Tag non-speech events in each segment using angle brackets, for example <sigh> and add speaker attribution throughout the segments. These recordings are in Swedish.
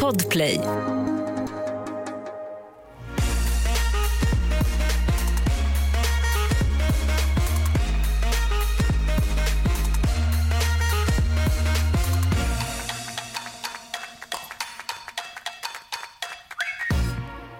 Speaker 1: Podplay.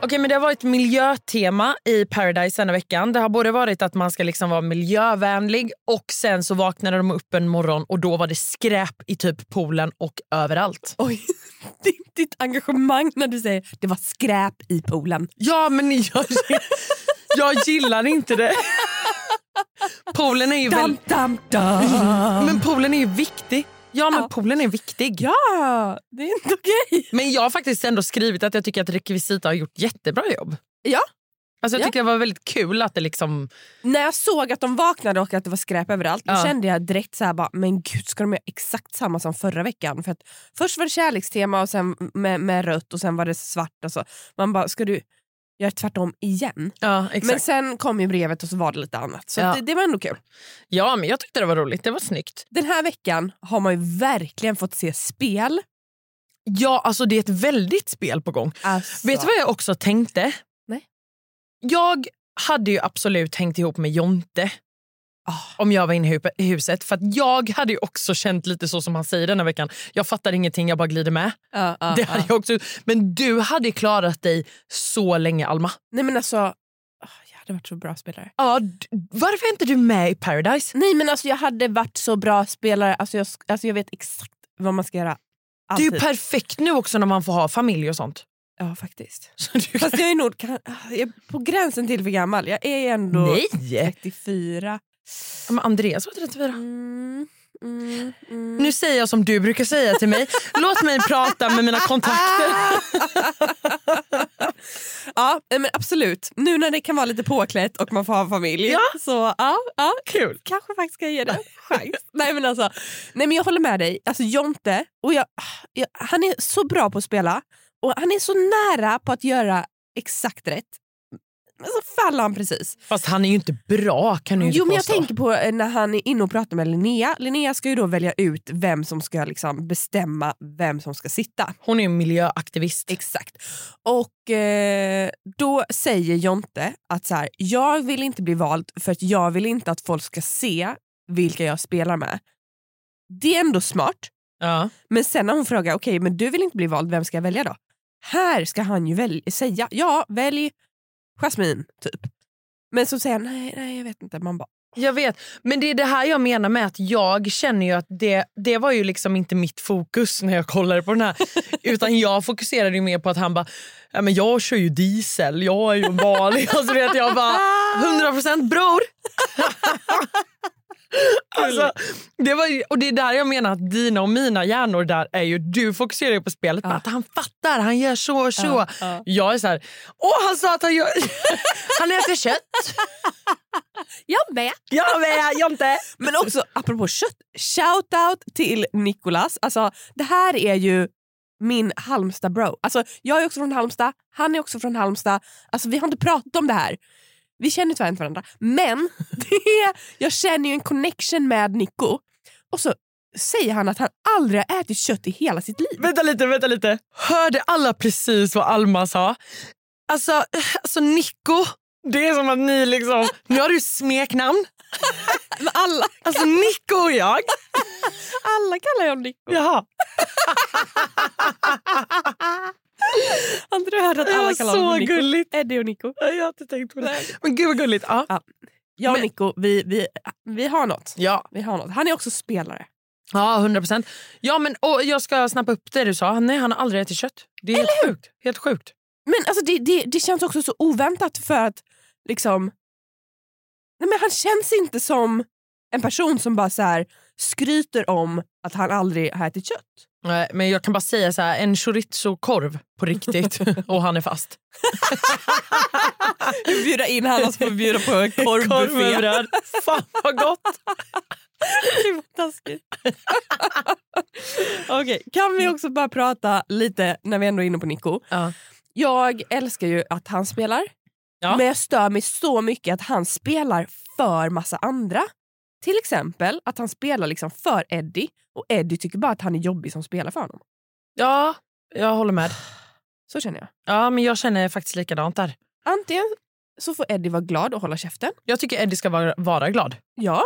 Speaker 2: Okej, men det har varit miljötema i Paradise denna veckan. Det har både varit att man ska liksom vara miljövänlig och sen så vaknade de upp en morgon och då var det skräp i typ poolen och överallt.
Speaker 3: Oj, <laughs> ditt, ditt engagemang när du säger det var skräp i poolen.
Speaker 2: Ja, men jag, jag gillar inte det. Poolen är ju
Speaker 3: Dam,
Speaker 2: väl,
Speaker 3: dam, dam.
Speaker 2: men poolen är ju viktig. Ja, men
Speaker 3: Ja.
Speaker 2: poolen är viktig.
Speaker 3: Ja, det är inte okej.
Speaker 2: Men jag har faktiskt ändå skrivit att jag tycker att rekvisita har gjort jättebra jobb.
Speaker 3: Ja.
Speaker 2: Alltså jag
Speaker 3: Ja.
Speaker 2: tycker det var väldigt kul att det liksom...
Speaker 3: När jag såg att de vaknade och att det var skräp överallt då
Speaker 2: Ja.
Speaker 3: kände jag direkt så här bara, men gud ska de göra exakt samma som förra veckan? För att Först var det kärlekstema och sen med, med rött och sen var det svart. Och så. Man bara, ska du göra tvärtom igen?
Speaker 2: Ja, exakt.
Speaker 3: Men sen kom ju brevet och så var det lite annat. Så
Speaker 2: Ja.
Speaker 3: det, det var ändå kul.
Speaker 2: ja, men jag tyckte det var roligt. Det var snyggt.
Speaker 3: Den här veckan har man ju verkligen fått se spel.
Speaker 2: Ja, alltså det är ett väldigt spel på gång.
Speaker 3: Alltså.
Speaker 2: Vet du vad jag också tänkte?
Speaker 3: Nej.
Speaker 2: Jag hade ju absolut hängt ihop med Jonte
Speaker 3: Ah.
Speaker 2: om jag var inne i hu- i huset. För att jag hade ju också känt lite så som han säger den här veckan. Jag fattar ingenting, jag bara glider med.
Speaker 3: Ja, ja,
Speaker 2: det
Speaker 3: ja.
Speaker 2: hade jag också. Men du hade ju klarat dig så länge, Alma.
Speaker 3: Nej men alltså, ah, jag hade varit så bra spelare.
Speaker 2: Ja, d- varför är inte du med i Paradise?
Speaker 3: Nej men alltså jag hade varit så bra spelare, alltså jag, sk- alltså, jag vet exakt vad man ska göra.
Speaker 2: Det är
Speaker 3: Alltid.
Speaker 2: ju perfekt nu också när man får ha familj och sånt. <laughs>
Speaker 3: ja faktiskt.
Speaker 2: Så du
Speaker 3: Fast jag är nog kan, ah, jag är på gränsen till för gammal. Jag är ändå
Speaker 2: Nej!
Speaker 3: 34.
Speaker 2: Men Andreas var 34.
Speaker 3: Mm, mm, mm.
Speaker 2: Nu säger jag som du brukar säga till
Speaker 3: <laughs>
Speaker 2: mig. Låt mig prata med mina
Speaker 3: Ah!
Speaker 2: kontakter.
Speaker 3: ja eh, men absolut, nu när det kan vara lite påklätt och man får ha familj.
Speaker 2: Ja.
Speaker 3: Så ja, ja,
Speaker 2: Kul.
Speaker 3: kanske faktiskt ska jag ge det en
Speaker 2: <laughs>
Speaker 3: chans. Nej men alltså, nej men jag håller med dig. Alltså Jonte, och jag, jag, han är så bra på att spela och han är så nära på att göra exakt rätt. Men så faller han precis.
Speaker 2: Fast han är ju inte bra kan du ju inte
Speaker 3: Jo men jag
Speaker 2: påstå.
Speaker 3: tänker på eh, när han är inne och pratar med Linnea. Linnea ska ju då välja ut vem som ska liksom bestämma vem som ska sitta.
Speaker 2: Hon är ju en miljöaktivist.
Speaker 3: Exakt. Och eh, då säger Jonte att så här, jag vill inte bli vald för att jag vill inte att folk ska se vilka jag spelar med. Det är ändå smart.
Speaker 2: Ja.
Speaker 3: Men sen när hon frågar, okej men du vill inte bli vald, vem ska jag välja då? Här ska han ju väl- säga, ja välj Jasmine typ. Men så säger han, nej, nej jag vet inte. Man bara,
Speaker 2: Jag vet, men det är det här jag menar med att jag känner ju att det, det var ju liksom inte mitt fokus när jag kollade på den <laughs> här. Utan jag fokuserade ju mer på att han bara, ja, men jag kör ju diesel, jag är ju vanlig. <laughs> Och så vet jag bara,
Speaker 3: "Ah!"
Speaker 2: 100% bror! <laughs> alltså, det var ju, och det är där jag menar att dina och mina hjärnor där är ju, du fokuserar ju på spelet, men
Speaker 3: Ja.
Speaker 2: att han fattar, han gör så och så.
Speaker 3: Ja, ja.
Speaker 2: Jag är så här, åh han sa att han gör, <laughs> han äter <laughs> kött.
Speaker 3: jag med.
Speaker 2: Jag med, Jonte!
Speaker 3: Men också apropå kött, shoutout till Nicolas. Alltså det här är ju min Halmstad bro. Alltså jag är också från Halmstad, han är också från Halmstad. Alltså vi har inte pratat om det här. Vi känner tyvärr inte varandra. Men <laughs> det, jag känner ju en connection med Nico. Och så säger han att han aldrig har ätit kött i hela sitt liv.
Speaker 2: Vänta lite, vänta lite. Hörde alla precis vad Alma sa? Alltså, alltså Nico, det är som att ni liksom, nu har du smeknamn.
Speaker 3: Men alla,
Speaker 2: Alltså Nico och jag.
Speaker 3: alla kallar honom Nico.
Speaker 2: Jaha,
Speaker 3: <laughs> Har inte du hört att
Speaker 2: det
Speaker 3: alla
Speaker 2: var
Speaker 3: kallar honom
Speaker 2: så
Speaker 3: Nico?
Speaker 2: gulligt.
Speaker 3: Eddie och Nico.
Speaker 2: Jag har inte tänkt på det. Men gud vad gulligt. Ja.
Speaker 3: Jag och
Speaker 2: Men-
Speaker 3: Nico, vi, vi, vi, har något.
Speaker 2: Ja.
Speaker 3: vi har något. Han är också spelare.
Speaker 2: ja, 100 procent. Ja, men och jag ska snappa upp det du sa. Nej, han har aldrig ätit kött. Det är helt sjukt. Helt sjukt.
Speaker 3: Men alltså det, det, det känns också så oväntat för att liksom... Nej men han känns inte som en person som bara så här skryter om att han aldrig har ätit kött.
Speaker 2: Nej, Men jag kan bara säga så här, en chorizo-korv på <laughs> riktigt och han är fast.
Speaker 3: Bjuda in han och så får vi bjuda på en
Speaker 2: Korv med
Speaker 3: korvbuffé.
Speaker 2: bröd. Fan vad gott!
Speaker 3: Det var <laughs> taskigt. Okej, kan vi också bara prata lite när vi ändå är inne på Nico.
Speaker 2: Ja.
Speaker 3: Jag älskar ju att han spelar.
Speaker 2: Ja.
Speaker 3: Men jag stör mig så mycket att han spelar för massa andra. Till exempel att han spelar liksom för Eddie och Eddie tycker bara att han är jobbig som spelar för honom.
Speaker 2: Ja, Jag håller med.
Speaker 3: Så känner jag.
Speaker 2: Ja, men jag känner faktiskt likadant där.
Speaker 3: Antingen så får Eddie vara glad och hålla käften.
Speaker 2: Jag tycker Eddie ska vara, vara glad.
Speaker 3: Ja.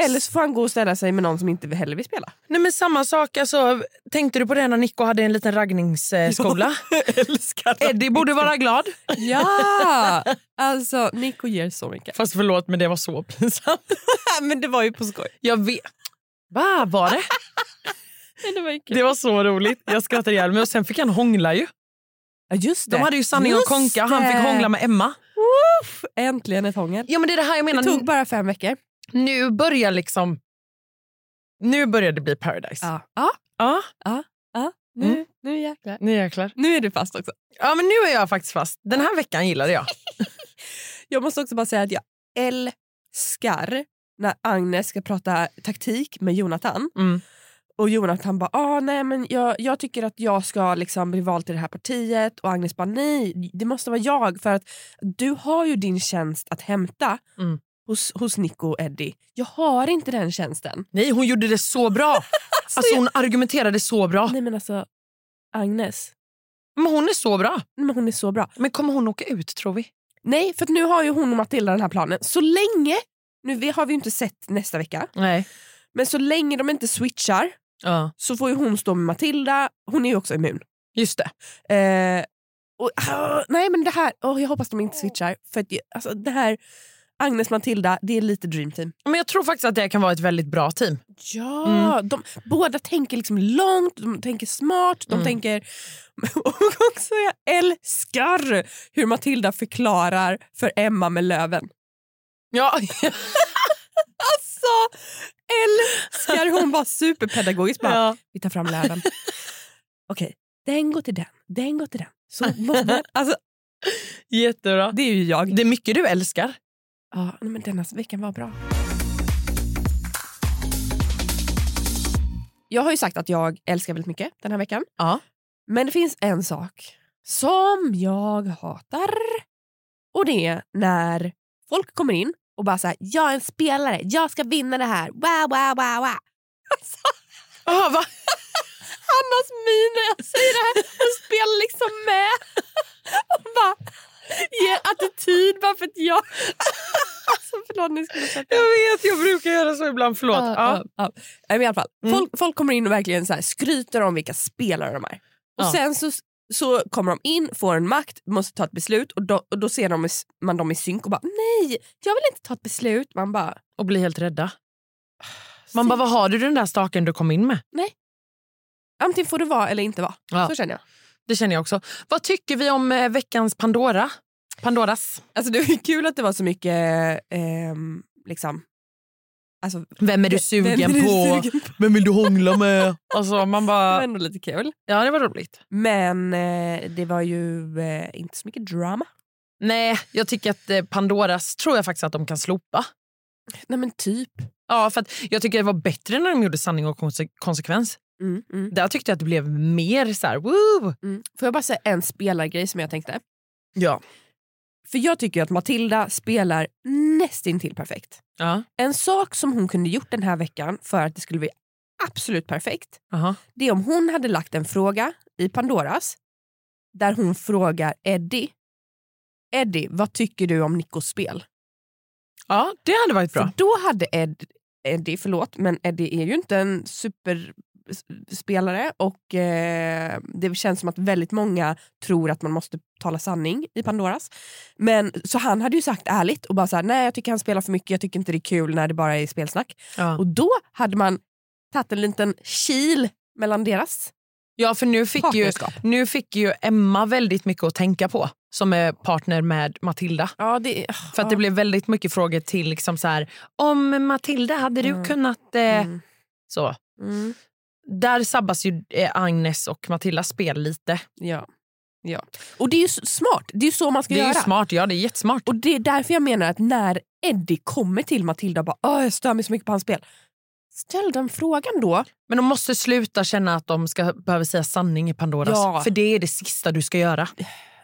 Speaker 3: Eller så får han gå och ställa sig med någon som inte heller vill spela.
Speaker 2: Nej, men samma sak. Alltså, tänkte du på det när Nico hade en liten
Speaker 3: <laughs>
Speaker 2: raggningsskola?
Speaker 3: Eh,
Speaker 2: <laughs>
Speaker 3: Älskar
Speaker 2: Eddie
Speaker 3: <laughs>
Speaker 2: borde vara glad.
Speaker 3: Ja! Alltså, Nico ger så mycket.
Speaker 2: Fast förlåt, men det var så pinsamt.
Speaker 3: Men det var ju på skoj.
Speaker 2: Jag vet. Va, var det?
Speaker 3: Men det var ju
Speaker 2: Det var så roligt. Jag skrattade ihjäl mig. Och sen fick han hångla ju.
Speaker 3: Ja, just det.
Speaker 2: De hade ju sanning och
Speaker 3: Just
Speaker 2: konka. Han fick
Speaker 3: det.
Speaker 2: hångla med Emma.
Speaker 3: Äntligen ett hångel.
Speaker 2: Ja, men det är det här jag
Speaker 3: Det
Speaker 2: menar.
Speaker 3: tog bara fem veckor.
Speaker 2: Nu börjar liksom... Nu börjar det bli paradise.
Speaker 3: Ja. ja.
Speaker 2: Ja,
Speaker 3: Nu,
Speaker 2: Mm.
Speaker 3: nu jäklar.
Speaker 2: nu är jag klar.
Speaker 3: Nu är du fast också.
Speaker 2: Ja, men nu är jag faktiskt fast. Den här veckan gillade jag.
Speaker 3: Jag måste också bara säga att jag älskar när Agnes ska prata taktik med Jonathan.
Speaker 2: Mm.
Speaker 3: Och Jonathan bara, ah, nej men jag, jag tycker att jag ska liksom bli vald till det här partiet. Och Agnes bara, nej det måste vara jag. För att du har ju din tjänst att hämta
Speaker 2: Mm.
Speaker 3: hos, hos Nico och Eddie. Jag har inte den tjänsten.
Speaker 2: Nej, hon gjorde det <laughs> så bra. Alltså, hon argumenterade så bra.
Speaker 3: Nej men alltså, Agnes.
Speaker 2: Men hon är så bra.
Speaker 3: Nej, Men hon är så bra.
Speaker 2: Men kommer hon åka ut tror vi?
Speaker 3: Nej, för att nu har ju hon och Matilda den här planen. Så länge, nu vi- har vi ju inte sett nästa vecka,
Speaker 2: Nej.
Speaker 3: men så länge de inte switchar
Speaker 2: Ja,
Speaker 3: så får ju hon stå med Matilda. Hon är ju också immun.
Speaker 2: just det.
Speaker 3: Eh, och, ah, nej men det här, åh, jag hoppas de inte switchar. För att, jag- alltså, det här, Agnes Matilda, det är lite dreamteam.
Speaker 2: Men jag tror faktiskt att det kan vara ett väldigt bra team.
Speaker 3: Ja, de, båda tänker liksom långt, de tänker smart, de
Speaker 2: Mm.
Speaker 3: tänker... <laughs> Och också jag älskar hur Matilda förklarar för Emma med löven.
Speaker 2: <laughs> Ja,
Speaker 3: Alltså, älskar hon var superpedagogisk. Bara,
Speaker 2: ja.
Speaker 3: Vi tar fram löven. <laughs> Okej, den går till den, den går till den. <laughs> Så måste man, alltså,
Speaker 2: jättebra.
Speaker 3: det är ju jag.
Speaker 2: Det är mycket du älskar.
Speaker 3: Ja, nej, men denna veckan var bra. Jag har ju sagt att jag älskar väldigt mycket den här veckan.
Speaker 2: Ja.
Speaker 3: Men det finns en sak som jag hatar. Och det är när folk kommer in och bara säger jag är en spelare, jag ska vinna det här. Wow, wow, wow, wow. Alltså,
Speaker 2: Aha, va?
Speaker 3: Annas min när jag säger det här, hon spelar liksom med. <laughs> Och bara ger attityd bara för att jag... <laughs> Alltså förlåt, ni skulle sett det.
Speaker 2: Jag vet, jag brukar göra så ibland. Förlåt.
Speaker 3: Ja,
Speaker 2: Ja.
Speaker 3: ja, ja. Men I alla fall,
Speaker 2: Mm.
Speaker 3: folk, folk kommer in och verkligen så här, skryter om vilka spelare de är. Och
Speaker 2: Ja.
Speaker 3: Sen så, så kommer de in, får en makt, måste ta ett beslut och då, och då ser de, i s- man dem i synk och bara nej, jag vill inte ta ett beslut. Man bara...
Speaker 2: Och bli helt rädda. Man bara, vad har du den där staken du kom in med?
Speaker 3: Antingen får du vara eller inte vara.
Speaker 2: Ja.
Speaker 3: Så känner jag.
Speaker 2: Det känner jag också. Vad tycker vi om eh, veckans Pandora? Pandoras.
Speaker 3: Alltså det var <laughs> ju kul att det var så mycket ehm, liksom... Alltså,
Speaker 2: Vem är du
Speaker 3: vem
Speaker 2: sugen
Speaker 3: <laughs> är du
Speaker 2: på?
Speaker 3: sugen på?
Speaker 2: Vem vill du hångla med? Alltså, man
Speaker 3: Det var
Speaker 2: bara...
Speaker 3: ändå lite kul.
Speaker 2: Ja, det var roligt.
Speaker 3: Men eh, det var ju eh, inte så mycket drama.
Speaker 2: Nej, jag tycker att eh, Pandoras tror jag faktiskt att de kan slopa.
Speaker 3: Nej men typ.
Speaker 2: Ja, för att jag tycker det var bättre när de gjorde sanning och konse- konsekvens.
Speaker 3: Mm, mm.
Speaker 2: Där tyckte jag att det blev mer så här... Woo!
Speaker 3: Mm. Får jag bara säga en spelargrej som jag tänkte?
Speaker 2: Ja.
Speaker 3: För jag tycker att Matilda spelar nästintill perfekt.
Speaker 2: Ja.
Speaker 3: En sak som hon kunde gjort den här veckan för att det skulle bli absolut perfekt,
Speaker 2: Aha.
Speaker 3: det är om hon hade lagt en fråga i Pandoras där hon frågar Eddie, Eddie, vad tycker du om Nickos spel?
Speaker 2: ja, det hade varit bra.
Speaker 3: För då hade Ed, Eddie, förlåt, men Eddie är ju inte en superspelare och eh, det känns som att väldigt många tror att man måste tala sanning i Pandoras. Men, så han hade ju sagt ärligt och bara så här, nej jag tycker han spelar för mycket, jag tycker inte det är kul när det bara är spelsnack.
Speaker 2: Ja.
Speaker 3: Och då hade man tagit en liten kil mellan deras
Speaker 2: ja, för nu fick ju...
Speaker 3: partnerskap.
Speaker 2: Nu fick ju Emma väldigt mycket att tänka på som är partner med Matilda.
Speaker 3: Ja, det,
Speaker 2: För att det blev väldigt mycket frågor till liksom så här, om Matilda hade du
Speaker 3: Mm.
Speaker 2: kunnat... Eh,
Speaker 3: Mm.
Speaker 2: Så.
Speaker 3: Mm.
Speaker 2: Där sabbas ju eh, Agnes och Matildas spel lite.
Speaker 3: Ja. ja. Och det är ju s- smart, det är ju så man ska
Speaker 2: Det är ju
Speaker 3: göra.
Speaker 2: smart, ja det är jättesmart.
Speaker 3: Och det är därför jag menar att när Eddie kommer till Matilda och bara Åh, jag stör mig så mycket på hans spel. Ställ den frågan då.
Speaker 2: Men de måste sluta känna att de ska behöva säga sanning i Pandoras.
Speaker 3: Ja.
Speaker 2: För det är det sista du ska göra.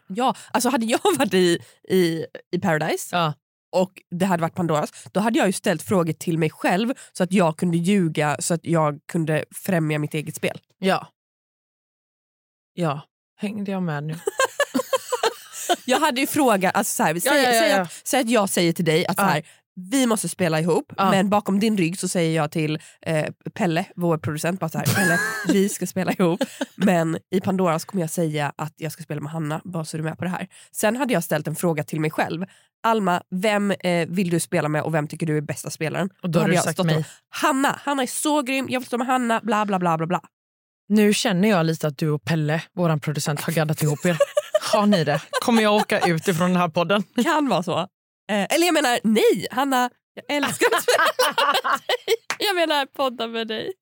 Speaker 3: Ja, alltså hade jag <laughs> varit i, i, i Paradise
Speaker 2: Ja.
Speaker 3: och det hade varit Pandoras, då hade jag ju ställt frågor till mig själv så att jag kunde ljuga så att jag kunde främja mitt eget spel.
Speaker 2: Ja. Ja, hängde jag med
Speaker 3: <laughs>
Speaker 2: nu?
Speaker 3: Jag hade ju frågat, alltså så här, säg,
Speaker 2: Ja, ja, ja,
Speaker 3: säg,
Speaker 2: ja.
Speaker 3: Att, säg att jag säger till dig att så
Speaker 2: Ja.
Speaker 3: här, vi måste spela ihop
Speaker 2: Ja.
Speaker 3: men bakom din rygg så säger jag till eh, Pelle, vår producent, bara så här,
Speaker 2: <laughs>
Speaker 3: Pelle vi ska spela ihop men i Pandora så kommer jag säga att jag ska spela med Hanna, bara så du är med på det här. Sen hade jag ställt en fråga till mig själv. Alma, vem eh, vill du spela med och vem tycker du är bästa spelaren?
Speaker 2: Och då
Speaker 3: Då
Speaker 2: har
Speaker 3: hade
Speaker 2: du
Speaker 3: jag
Speaker 2: sagt
Speaker 3: stått
Speaker 2: mig.
Speaker 3: och- Hanna, Hanna är så grym, jag vill stå med Hanna, bla bla bla bla bla.
Speaker 2: Nu känner jag lite att du och Pelle, vår producent, har gaddat ihop
Speaker 3: <laughs>
Speaker 2: er. Har ni det? Kommer jag åka ut ifrån den här podden?
Speaker 3: Kan vara så. Eh, eller jag menar nej, Hanna, jag älskar att spela
Speaker 2: <laughs>
Speaker 3: med dig. Jag menar podda med dig.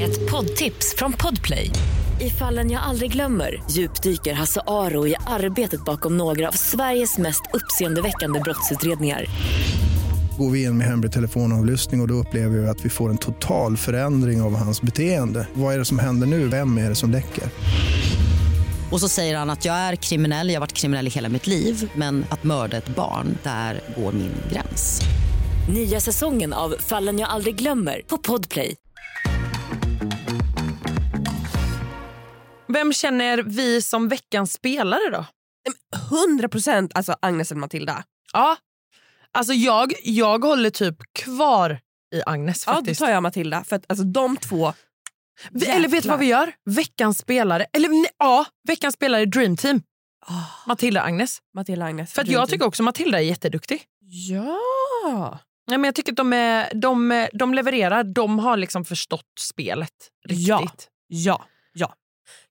Speaker 1: Ett poddtips från Podplay. I fallen jag aldrig glömmer djupdyker Hasse Aro i arbetet bakom några av Sveriges mest uppseendeväckande brottsutredningar.
Speaker 4: går vi in med hemlig telefonavlyssning och, och då upplever vi att vi får en total förändring av hans beteende. Vad är det som händer nu? Vem är det som läcker?
Speaker 5: Och så säger han att jag är kriminell, jag har varit kriminell i hela mitt liv men att mörda ett barn, där går min gräns.
Speaker 1: Nya säsongen av Fallen jag aldrig glömmer på Podplay.
Speaker 2: Vem känner vi som veckans spelare då?
Speaker 3: 100 procent alltså Agnes eller Matilda.
Speaker 2: Ja. Alltså jag, jag håller typ kvar i Agnes
Speaker 3: Ja, då
Speaker 2: faktiskt.
Speaker 3: tar jag Matilda. För att alltså, de två...
Speaker 2: vi, eller vet du vad vi gör? Veckans spelare, eller nej, ja, veckans spelare i Dream Team.
Speaker 3: Ah,
Speaker 2: Matilda Agnes.
Speaker 3: Matilda och Agnes.
Speaker 2: För att jag tycker också Matilda är jätteduktig.
Speaker 3: Ja!
Speaker 2: Nej, men jag tycker att de, är, de, är- de levererar, de har liksom förstått spelet riktigt.
Speaker 3: Ja. Ja. ja.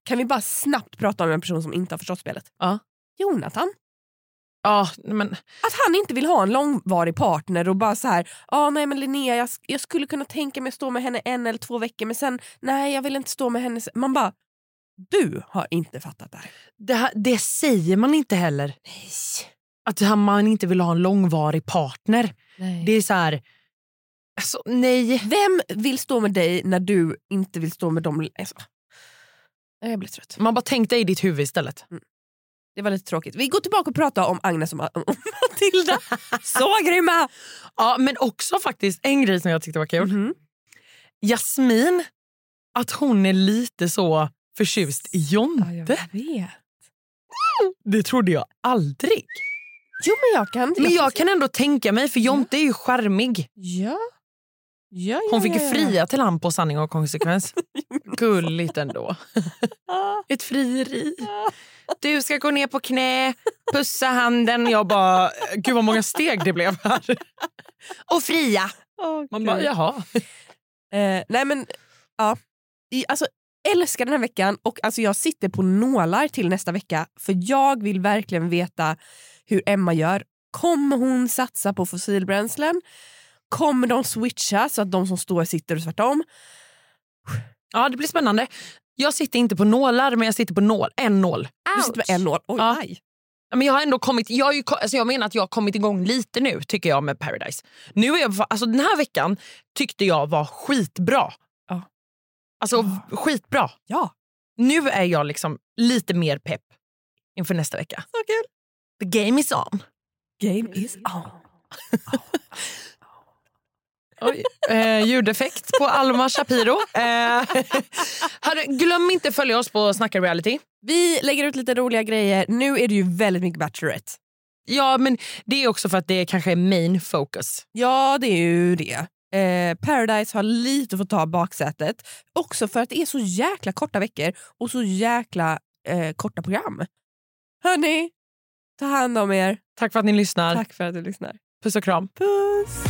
Speaker 3: Kan vi bara snabbt prata om en person som inte har förstått spelet?
Speaker 2: Ja.
Speaker 3: Jonathan.
Speaker 2: Ja, men,
Speaker 3: Att han inte vill ha en långvarig partner och bara så här, ah, nej men Linnea jag, jag skulle kunna tänka mig att stå med henne en eller två veckor men sen, nej jag vill inte stå med henne. sen." Man bara, du har inte fattat det här.
Speaker 2: det, här- det säger man inte heller. Att det här- man inte vill ha en långvarig partner. Det är så här... Alltså, nej.
Speaker 3: Vem vill stå med dig när du inte vill stå med dem? Alltså, jag blir trött.
Speaker 2: Man bara tänk dig i ditt huvud istället.
Speaker 3: Mm. Det var lite tråkigt. Vi går tillbaka och pratar om Agnes och Ma- om Matilda. Så grymma!
Speaker 2: Ja, men också faktiskt en grej som jag tyckte var kul.
Speaker 3: Mhm.
Speaker 2: Jasmin, att hon är lite så förtjust i Jonte.
Speaker 3: vet.
Speaker 2: Det trodde jag aldrig.
Speaker 3: Jo men jag kan.
Speaker 2: Men jag kan ändå tänka mig, för Jonte är ju charmig.
Speaker 3: Ja. Ja, ja,
Speaker 2: Hon fick ju
Speaker 3: ja, ja.
Speaker 2: fria till han på sanning och
Speaker 3: <laughs>
Speaker 2: konsekvens. Gulligt ändå.
Speaker 3: Ah,
Speaker 2: Ett frieri. Du ska gå ner på knä, pussa handen. Jag bara, gud vad många steg det blev här. Och fria.
Speaker 3: åh,
Speaker 2: Man bara,
Speaker 3: gud.
Speaker 2: jaha.
Speaker 3: Eh, nej men, ja. I, alltså, älskar den här veckan och alltså, jag sitter på nålar till nästa vecka för jag vill verkligen veta hur Emma gör. Kommer hon satsa på fossilbränslen? Kommer de switcha så att de som står sitter och tvärtom?
Speaker 2: Ja, det blir spännande. Jag sitter inte på nålar, men jag sitter på nål. en nål.
Speaker 3: Du sitter med en nål. Oj,
Speaker 2: Ja.
Speaker 3: aj.
Speaker 2: Ja, Men jag, har ändå kommit, jag, har ju, ko- alltså jag menar att jag har kommit igång lite nu tycker jag med Paradise. Nu är jag, fa- alltså den här veckan tyckte jag var skitbra.
Speaker 3: Ja.
Speaker 2: Alltså
Speaker 3: Ja.
Speaker 2: skitbra.
Speaker 3: Ja.
Speaker 2: Nu är jag liksom lite mer pepp inför nästa vecka.
Speaker 3: Så kul.
Speaker 2: The game is on.
Speaker 3: Game is on.
Speaker 2: Eh, ljudeffekt på Alma Shapiro. Eh, <laughs> hörru, glöm inte att följa oss på Snacka Reality.
Speaker 3: Vi lägger ut lite roliga grejer. Nu är det ju väldigt mycket Bachelorette.
Speaker 2: Ja, men det är också för att det kanske är main focus.
Speaker 3: Ja, det är ju det. Eh, Paradise har lite fått ta baksätet. Också för att det är så jäkla korta veckor och så jäkla eh, korta program. Hörni, ta hand om er.
Speaker 2: Tack för att ni lyssnar.
Speaker 3: Tack för att du lyssnar.
Speaker 2: Puss och kram.
Speaker 3: Puss!